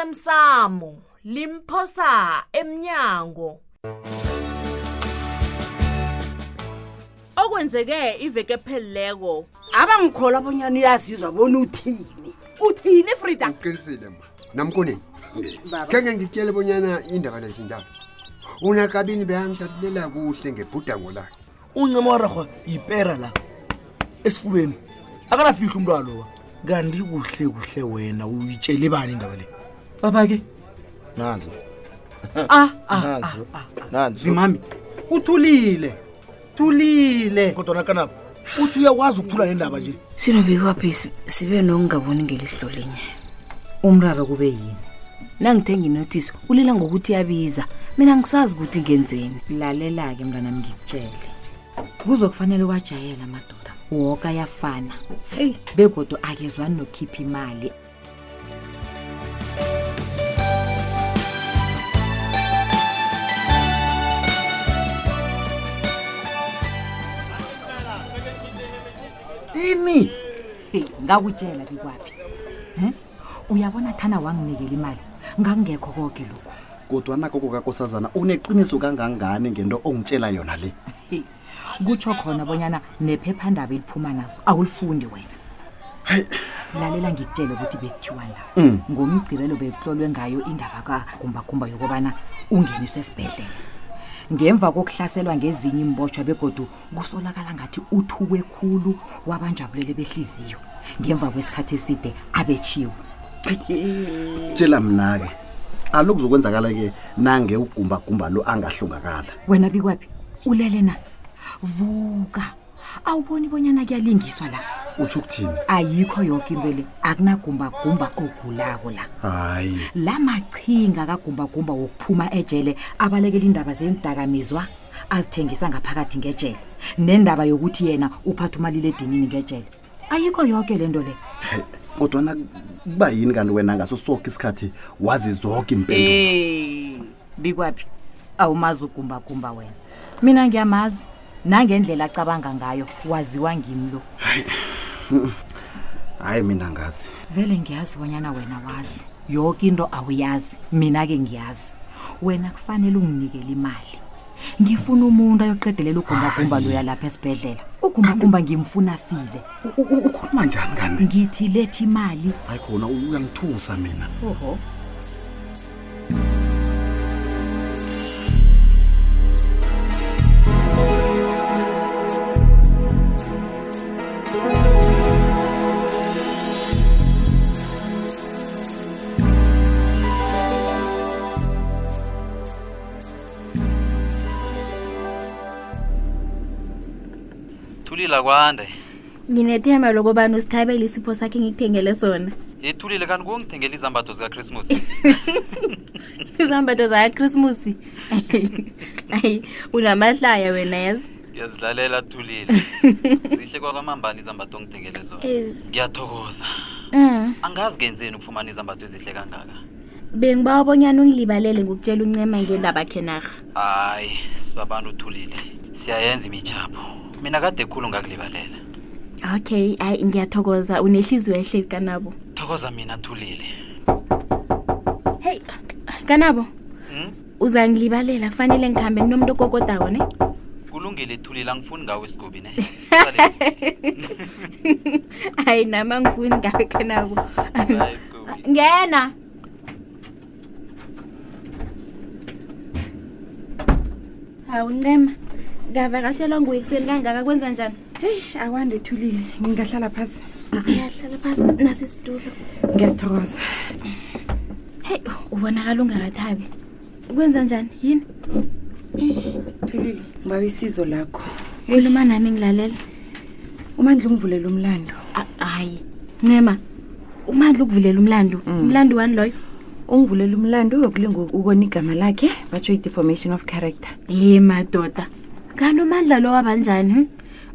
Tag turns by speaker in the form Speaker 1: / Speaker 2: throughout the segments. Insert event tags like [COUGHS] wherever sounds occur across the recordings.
Speaker 1: osemsamo limphosa emnyango okwenzeke iveke pheleleko
Speaker 2: abangikholwa abonyana uyazizwa bona uthini uthini frida
Speaker 3: uqinisile ma namkoneni khenge ngityele bonyana indaba lezinjalo unakabini beyangihlabulela kuhle ngebhudango lakhe
Speaker 4: uncema wararhwa yipera la esifubeni akanafihle umntwalowa kanti kuhle kuhle wena uyitshele bani indaba le baba-ke nanzo
Speaker 2: Ah, ah,
Speaker 4: nanzo nanzo
Speaker 2: zimami uthulile thulile
Speaker 4: kodwana kanabo uthi uyakwazi ukuthula nendaba nje
Speaker 5: sinobekwaphi sibe nokungaboni ngelihlo linye
Speaker 6: umraro kube yini
Speaker 5: nangithenga inothisi ulila ngokuthi iyabiza mina ngisazi ukuthi ngenzeni
Speaker 6: lalela-ke mntwanam ngikutshele kuzokufanele wajayela amadoda woke ayafana
Speaker 5: heyi
Speaker 6: begodo akezwani nokhipha imali
Speaker 4: ini
Speaker 6: Hey, ngakutshela bikwaphi um uyabona thana wanginikela imali ngakungekho konke lokhu
Speaker 7: kodwa nako kokakosazana uneqiniso kangangani ngento ongitshela yona le
Speaker 6: Hey, kutsho khona bonyana nephephandaba eliphuma nazo awulifundi wena lalela ngikutshele ukuthi bekuthiwa la ngomgcibelo bekutlolwe ngayo indaba kagumbagumba yokubana ungeniswe esibhedlela ngemva kokuhlaselwa ngezinye imbotshwa begodu kusolakala ngathi uthukwe khulu wabanjabulele behliziyo ngemva kwesikhathi eside abetshiwe
Speaker 7: tshela mna-ke aloku zokwenzakala-ke nange ugumbagumba lo angahlongakala
Speaker 6: wena bikwaphi ulele na vuka awuboni bonyana kuyalingiswa la
Speaker 7: utsho ukuthini
Speaker 6: ayikho yonke into le akunagumbagumba ogulako la
Speaker 7: hayi
Speaker 6: la machinga kagumbagumba wokuphuma ejele abalekela indaba zeendakamizwa azithengisa ngaphakathi ngejele nendaba yokuthi yena uphatha umaliledinini ngejele ayikho yonke le nto le
Speaker 7: kodwana kuba yini kanti wena ngaso soke isikhathi wazi zoke impendulo
Speaker 6: Eh, bikwaphi awumazi ugumbagumba wena mina ngiyamazi nangendlela acabanga ngayo waziwa ngimi lo
Speaker 7: hayi mina ngazi
Speaker 6: vele ngiyazi bonyana wena wazi yoke into awuyazi mina-ke ngiyazi wena kufanele unginikele imali ngifuna umuntu ayoqedelela ugumbagumba loya lapha esibhedlela ugumbagumba ngimfuna file
Speaker 7: U- u- u- ukhuluma njani kanti
Speaker 6: ngithi letha imali
Speaker 7: hayi khona uyangithusa mina
Speaker 6: oho
Speaker 8: thulile kwande
Speaker 5: nginethemba lokobani usithabele isipho sakhe ngikuthengele sona [LAUGHS]
Speaker 8: yethulile kanti kungithengela izambatho zikachrismas
Speaker 5: izambatho [LAUGHS] zakakrismusi ayi unamahlaya wena yazi
Speaker 8: ngiyazilalela thulile zihle kwakwamambani izambatho ongithengele zona
Speaker 5: Eish.
Speaker 8: ngiyathokoza
Speaker 5: um
Speaker 8: angazi kenzeni ukufumana izambatho ezihle kangaka
Speaker 5: bengiba wabonyana ungilibalele ngokutshela uncema ngendaba khenarha
Speaker 8: hayi sibabantu uthulile siyayenza imitshapo mina kade khulu ngakulibalela
Speaker 5: okay hayi ngiyathokoza unehliziyo ehle kanabo
Speaker 8: thokoza mina thulile
Speaker 5: heyi kanabo
Speaker 8: Hmm?
Speaker 5: uzangilibalela kufanele ngihambe kunomuntu okokodako ne [LAUGHS]
Speaker 8: kulungile thulile angifuni ngawo isigobi ne Sale.
Speaker 5: hayi nami angifuni ngawe kanabo [LAUGHS]
Speaker 8: Hayi, Gobi.
Speaker 5: ngena hawu ncema ngavakashelwa nguye ekuseni kangaka kwenza njani
Speaker 2: heyi awande thulile ngingahlala phasi
Speaker 5: uyahlala phasi nasisitulo
Speaker 2: ngiyathokoza
Speaker 5: heyi ubonakala ungakathabi kwenza njani yini
Speaker 2: thulile ngibawa isizo lakho
Speaker 5: khuluma nami ngilalela
Speaker 2: umandla ungivulela umlando
Speaker 5: A- hayi ncema umandla ukuvulela umlandu umlandu wani loyo
Speaker 2: ungivulela umlando yokulinga ukona igama lakhe batsho i-deformation of character
Speaker 5: ye madoda kanti umandla lo wabanjani hm?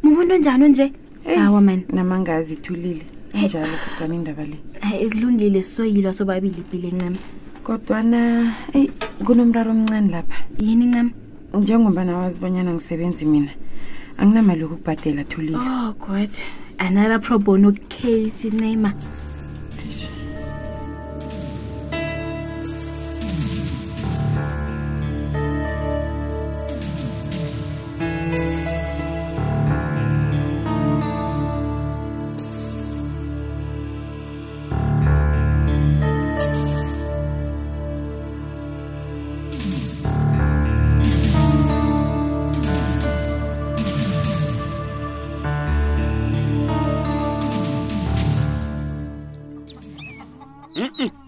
Speaker 5: mumuntu onjani onje hawa mani
Speaker 2: namangazi thulile injalo kodwana indaba le
Speaker 5: hayi Eh, kulungile sisoyilwa sobabili ipile ncema
Speaker 2: kodwana eyi kunomraro omncane lapha
Speaker 5: yini ncema
Speaker 2: njengombana wazi bonyana ngisebenzi mina anginamali yokukubhadela thulile
Speaker 5: oh god another pro bono case ncema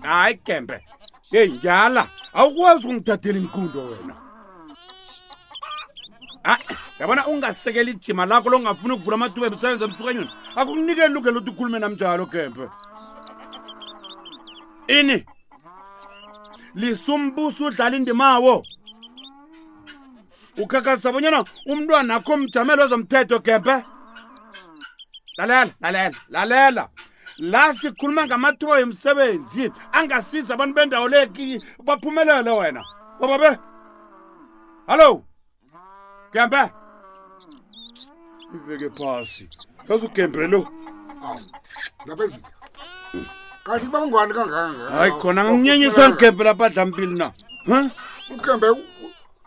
Speaker 9: hayi gembe yeyi ngyala awukwazi ukungithathela inkundo wena hayi yabona ungasekela ijima lakho longafuni ukuvula amathuba emsebenzi emsukanyweni akukunikeli lungelo lokuthi ukhulume nam njalo gembe ini lisumbuso udlala indimawo ukhakhazisa bonyana umntwana akho mjamelo wezomthetho gembe lalela lalela lalela la sikhuluma ngamathuba emsebenzi angasiza abantu bendawo leki baphumelele wena bobabe hallo gembe ibeke phasi yazi ugembe lo
Speaker 3: ngabezitha kanti bangwane kangaka
Speaker 9: hayi khona nginyenyisa ngembe lapha dlampili na Huh?
Speaker 3: ugembe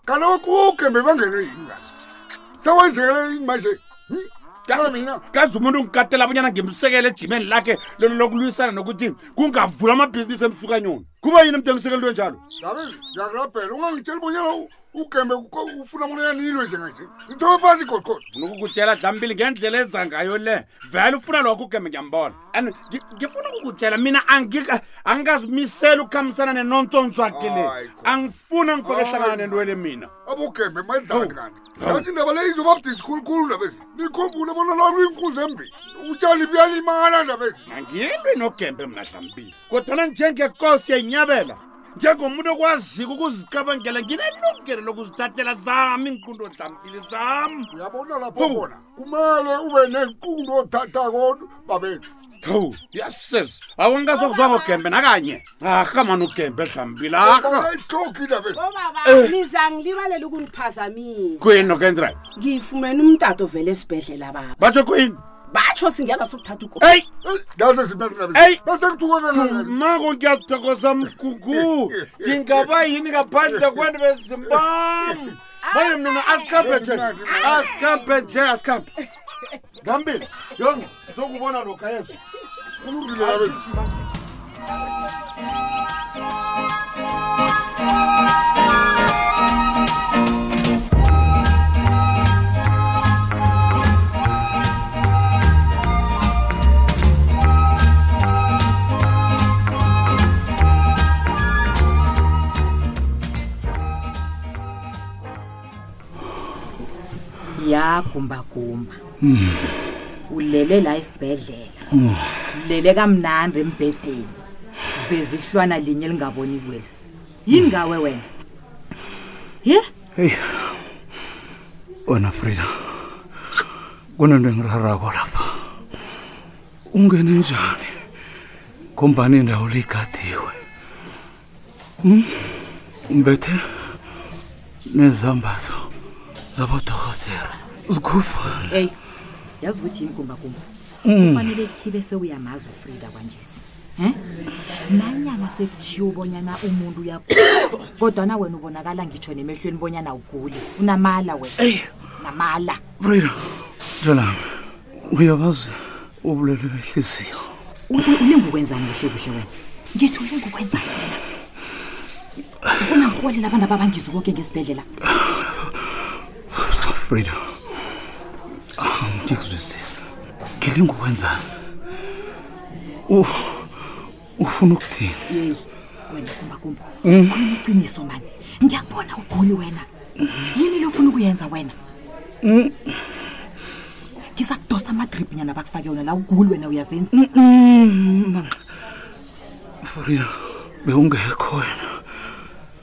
Speaker 3: kaloku ugembe bangene yini ka sewenzekele yini manje Hmm? Yala mina
Speaker 9: kazi umuntu ungikatela abanyana ngimsekele ejimeni lakhe lelo lokulwisana nokuthi kungavula amabhizinisi emsukanyoni kuba yini mntu engisekelo into njalo
Speaker 3: ndabe ndiyakulabhela ungangitsheli bonyana u- ugembe uko- ufuna moneyani ilwe njenganje ndithobe phasi goqoda
Speaker 9: funa ukukutshela dlambili ngendlela eza ngayo le vele ufuna lokho ugembe ngiyambona and ngi- ngifuna ukukutshela mina angika- angikazimiseli ukukhambisana nenontsontsw akhe
Speaker 3: Hayi,
Speaker 9: le
Speaker 3: khona.
Speaker 9: angifuni angifake hlangana
Speaker 3: Hayi.
Speaker 9: nentwele mina
Speaker 3: abogembe mazidakani kanti yazi indaba le izobabudisi khulukhulu ndabezi nikhumbule bona lalo inkunzi embili utshani buyalimala ndabezi
Speaker 9: angilwi nogembe mna dlambili kodwana njengekosi yayinyabela njengomuntu okwaziko ukuzicabangela nginelungelo lokuzithathela zami iinqundo dlambili zami
Speaker 3: uyabona lapho bona kumele ube nenkundo othathako babethu
Speaker 9: hawu yases awangazokuzwa ngogembe nakanye arha mani ugembe dlambili arha
Speaker 3: ayihloki ndabezi
Speaker 2: Eh.
Speaker 10: obaba niza ngilibalela ukundiphazamisa
Speaker 9: kwini okendray
Speaker 10: ngifumene umtato vele esibhedlela baba
Speaker 9: batsho kwini
Speaker 10: batsho singena sokuthatha uko
Speaker 9: eyi
Speaker 3: ndaze zimele
Speaker 9: Hey.
Speaker 3: ndabezi bese kuthukekekangani
Speaker 9: mako ngiyathokoza mgugu ngingaba yini ngaphandle kwenu bezimbam maye mnuna asikhambe nje asikhambe nje asikhambe ngambili yonke sokubona lokhu ayeza
Speaker 3: kulungile ndabezi
Speaker 6: yagumbagumba ulele la esibhedlela ulele kamnandi embhedeni zezihlwana linye lingaboni kweli yini ngawe wena ye
Speaker 4: heyi wena frida kunento engirarako lapha ungene njani kombani indawo ligadiwe Hmm? mbethe nezambazo zabodokotela zikhufa
Speaker 6: eyi yazi ukuthi yini gumbagumba kufanele khibe sewuyamazi ufrida kwanjesi um nanyana sekutshiwo ubonyana umuntu uyagula [COUGHS] kodwana wena ubonakala ngitsho nemehlweni bonyana uguli unamala wena namala
Speaker 4: frida njenami uyabazi ubulwele behliziyo
Speaker 6: ulingukwenzani kuhle kuhle wena ngithi ulingukwenzani wena ufuna ngirholela abantu ababangizi konke ngesibhedlela
Speaker 4: frida angikuzwisisa ah, ngilinga ukwenzani U- ufuna ukuthini
Speaker 6: yeyi wena kumbakumba khuluma iciniso mani ngiyakubona uguli wena yini lofuna ukuyenza wena ngizakudosa amadrip nyana bakufake wona la uguli wena uyazenza
Speaker 4: Mm, frida bewungekho wena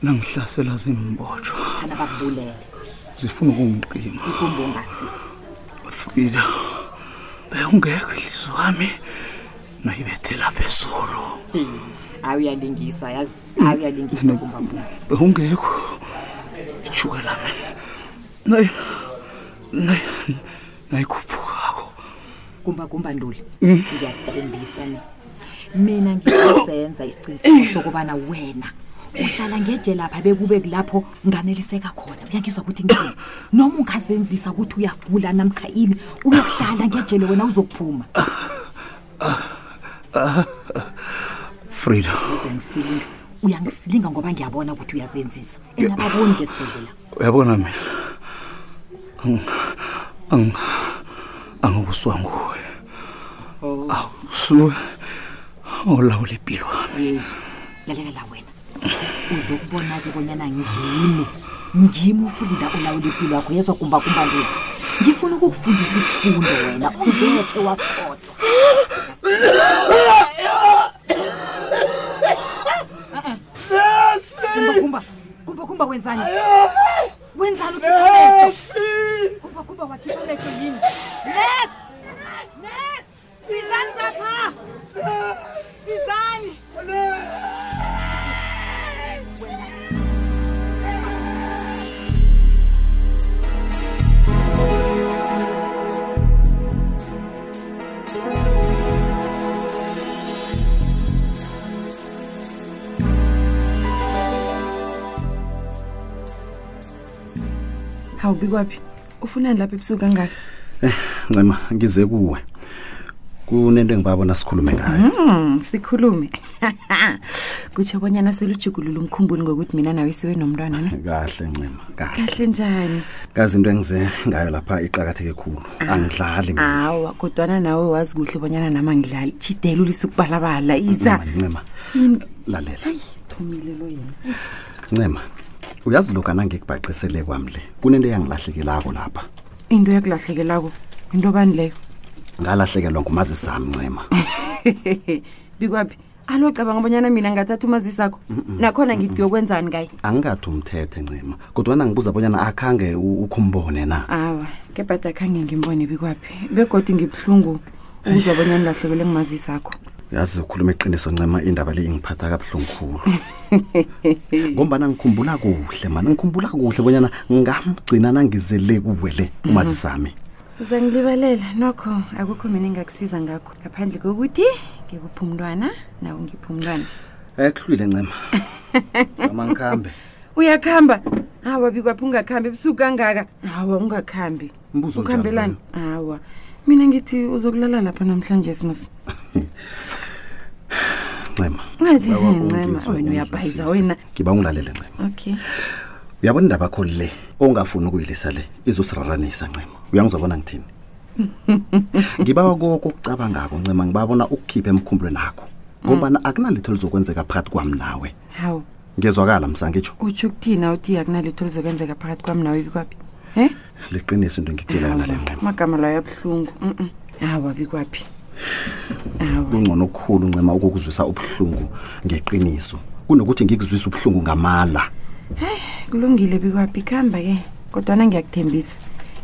Speaker 4: nangihlasela zimbotshwa
Speaker 6: khana bakubulele
Speaker 4: zifuna ukungiqima
Speaker 6: ikumba ungasi
Speaker 4: frida bewungekho ihlizi wami nayibethela phezulu
Speaker 6: hayi uyalingisa yazi hayi uyalingisa kumbabumba
Speaker 4: bewungekho ijuke lami nayi nayi nayikhuphukako
Speaker 6: kumbagumba ntuli ngiyakutembisa ni mina ngizosenza isiqiniseko sokubana wena uhlala ngeje lapha bekube kulapho nganeliseka khona uyangizwa ukuthi ngini noma ungazenzisa ukuthi uyagula namkha ini uyokuhlala ngejele wena uzokuphuma
Speaker 4: frida
Speaker 6: uzangisilinga uyangisilinga ngoba ngiyabona ukuthi uyazenzisa enababoni ngesibhedlela
Speaker 4: uyabona mina ang- ang- angikusuka nguwe awusuke olawula impilo wami
Speaker 6: yeyi lalela wena uzokubona-ke bonyana ngimi ngimi ufrida olawula impilo yakho yezwa kumbakumba le ngifuna ukukufundisa isifundo wena ongekhe wasikhohlwa kumbakumba kumbakumba wenzani wenzani ukhipha amehlo kumbakumba wakhipha amehlo yini les les sizani zapha sizani
Speaker 2: hawubi kwaphi ufunani lapha ebusuku kangaka
Speaker 7: ncema ngize kuwe kunento engibabona sikhulume ngayo
Speaker 2: Mm, sikhulume [LAUGHS] kutsho bonyana selujugulula umkhumbulo ngokuthi mina nawe siwe nomntwana na
Speaker 7: kahle ncema kahle
Speaker 2: Mhm. kahle njani Ah.
Speaker 7: kazi into engize ngayo lapha iqakatheke khulu angidlali nge-
Speaker 2: hawa kodwana nawe wazi kuhle bonyana nami angidlali tshidela ulise ukubalabala iza
Speaker 7: Mm, ncema
Speaker 2: Ah. yini
Speaker 7: lalela
Speaker 2: thomile lo yena
Speaker 7: ncema uyazi lokhu anangikubhaqisele kwami le kunento eyangilahlekelako lapha
Speaker 2: into yakulahlekelako into bani leyo [LAUGHS]
Speaker 7: ngalahlekelwa ngumazisi sami ncema
Speaker 2: bikwaphi alo cabanga bonyana mina ngathatha umazisi akho nakhona ngithi kuyokwenzani kaye
Speaker 7: angingathi umthethe ncema kodwana ngibuza bonyana akhange u- ukhe umbone na
Speaker 2: awa kebhada khange ngimbone bikwaphi begodi ngibuhlungu ukuzwa bonyana ulahlekelwe ngumazisi akho
Speaker 7: yazi ukhuluma iqiniso ncema indaba le ingiphatha kabuhlungu
Speaker 2: [LAUGHS]
Speaker 7: khulu ngombana ngikhumbula kuhle mani ngikhumbula kuhle bonyana ngamgcina nangizele kuwe le umazisami
Speaker 2: Mhm. uzangilibalela nokho akukho mina engakusiza ngakho ngaphandle kokuthi ngikuphi umntwana nawe ngiphi umntwana [LAUGHS]
Speaker 7: ekuhlwile ncema ama ngikhambe
Speaker 2: uyakuhamba hawa bikwaphi ungakhambi ebusuku kangaka hawa ungakhambi
Speaker 7: Mbuzo onjani
Speaker 2: ukhambelani hawa mina ngithi uzokulala lapha namhlanje simas
Speaker 7: ncema
Speaker 2: ungathi ncema
Speaker 7: Bawa ungizwe,
Speaker 2: wena uyabhayiza
Speaker 7: ungizwisise.
Speaker 2: wena
Speaker 7: ngiba ungilalele ncema
Speaker 2: okay
Speaker 7: uyabona indaba yakho le ongafuni ukuyilisa le izosiraranisa ncema uyangizobona ngithini [LAUGHS] ngibawa koko ukucabangako ncema ngibabona ukukhiphe emkhumbulweni akho ngombana akunalitho lizokwenzeka phakathi kwami nawe
Speaker 2: hawu
Speaker 7: ngezwakala msangitsho
Speaker 2: utsho ukuthina uthi akunalitho lizokwenzeka phakathi kwami nawe bikwaphi em
Speaker 7: liqiniso into engikutshela yona le ncema
Speaker 2: amagama lawo yabuhlungu mm hawa bikwaphi
Speaker 7: kungcono okukhulu ncema ukukuzwisa ubuhlungu ngeqiniso kunokuthi ngikuzwise ubuhlungu ngamala
Speaker 2: kulungile bikwaphi kuhamba ke kodwana ngiyakuthembisa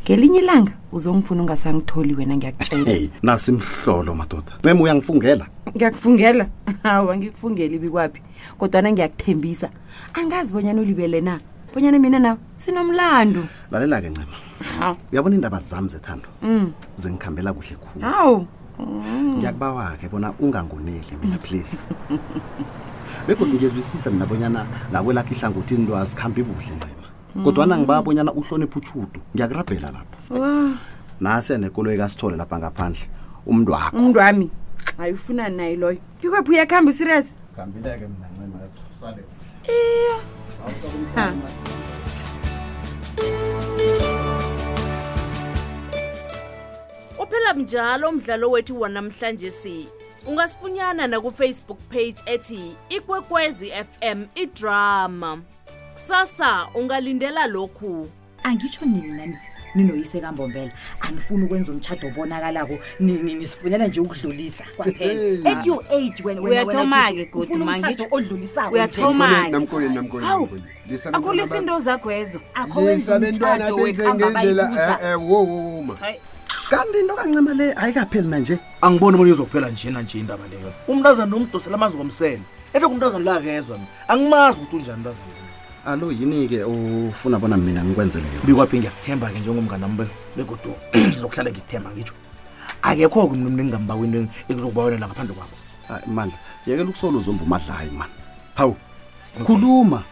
Speaker 2: ngelinye ilanga uzongifuna ungasangitholi wena ngiyakutshela
Speaker 7: hey nasimhlolo madoda ncema uyangifungela
Speaker 2: ngiyakufungela hawa ngikufungeli bikwaphi kodwana ngiyakuthembisa angazi bonyana ulibele na bonyana mina nawe sinomlando
Speaker 7: lalela-ke ncema
Speaker 2: Hawu.
Speaker 7: uyabona iindaba zami zethando
Speaker 2: Mm.
Speaker 7: zingikhambela kuhle khulu
Speaker 2: hawu
Speaker 7: ngiyakubawa-ke bona ungangoneli mina please begodwa ngiyezwisisa mina bonyana ngakwelakho ihlangothi into azikhambi kuhle ncema kodwana ngibabonyana uhloniphe utshudu ngiyakurabhela lapha
Speaker 2: wa
Speaker 7: nasiya nekoloyi kasithole lapha ngaphandle umntu wakho
Speaker 2: umntu wami hayi ufunani naye loyo bikwaphi uyakuhamba usiriyas
Speaker 7: Ngihambileke mina ncema
Speaker 2: iyo ha
Speaker 1: uphela mnjalo umdlalo wethu wanamhlanje si ungasifunyana nakufacebook page ethi ikwekwezi fm idrama kusasa ungalindela lokhu
Speaker 6: angitsho nina ni- ninoyise kambombela anifuni ukwenza umtshado obonakalako ni- ni- nisifunela nje ukudlulisa kwaphela at your age wena- wena- wena
Speaker 11: Uyathoma-ke
Speaker 6: Judy,
Speaker 11: godu,
Speaker 6: ufuna
Speaker 11: ma,
Speaker 6: umtjhado
Speaker 11: ngitjho-
Speaker 6: odlulisako nje.
Speaker 11: Uyathoma-ke.
Speaker 3: namkoni namkoni namkoni
Speaker 11: akhulisa into zakho ezo akho wenza
Speaker 3: ngisabentwana
Speaker 11: umtshado
Speaker 3: benze
Speaker 11: wekhamba
Speaker 3: ngendlela
Speaker 11: bayibuza
Speaker 3: eh, eh, wo wo wo ma
Speaker 7: kanti into kancema le ayikapheli nanje
Speaker 4: angiboni bona izokuphela njena nje indaba leyo umntazana nomdosela amazi komsele ehle kumntazana lakezwa mina angimazi ukuthi unjani umntazana
Speaker 7: alo yini-ke ufuna bona mina ngikwenzeleyo
Speaker 4: bikwaphi ngiyakuthemba-ke njengomngane wami begodo [CLEARS THROAT] ngizokuhlala ngikuthemba ngitsho akekho-ke mna mna engingambako into ekuzokubawonela ngaphandle kwakho
Speaker 7: mandla yekela ukusola uzomba umadlayi mani hawu khuluma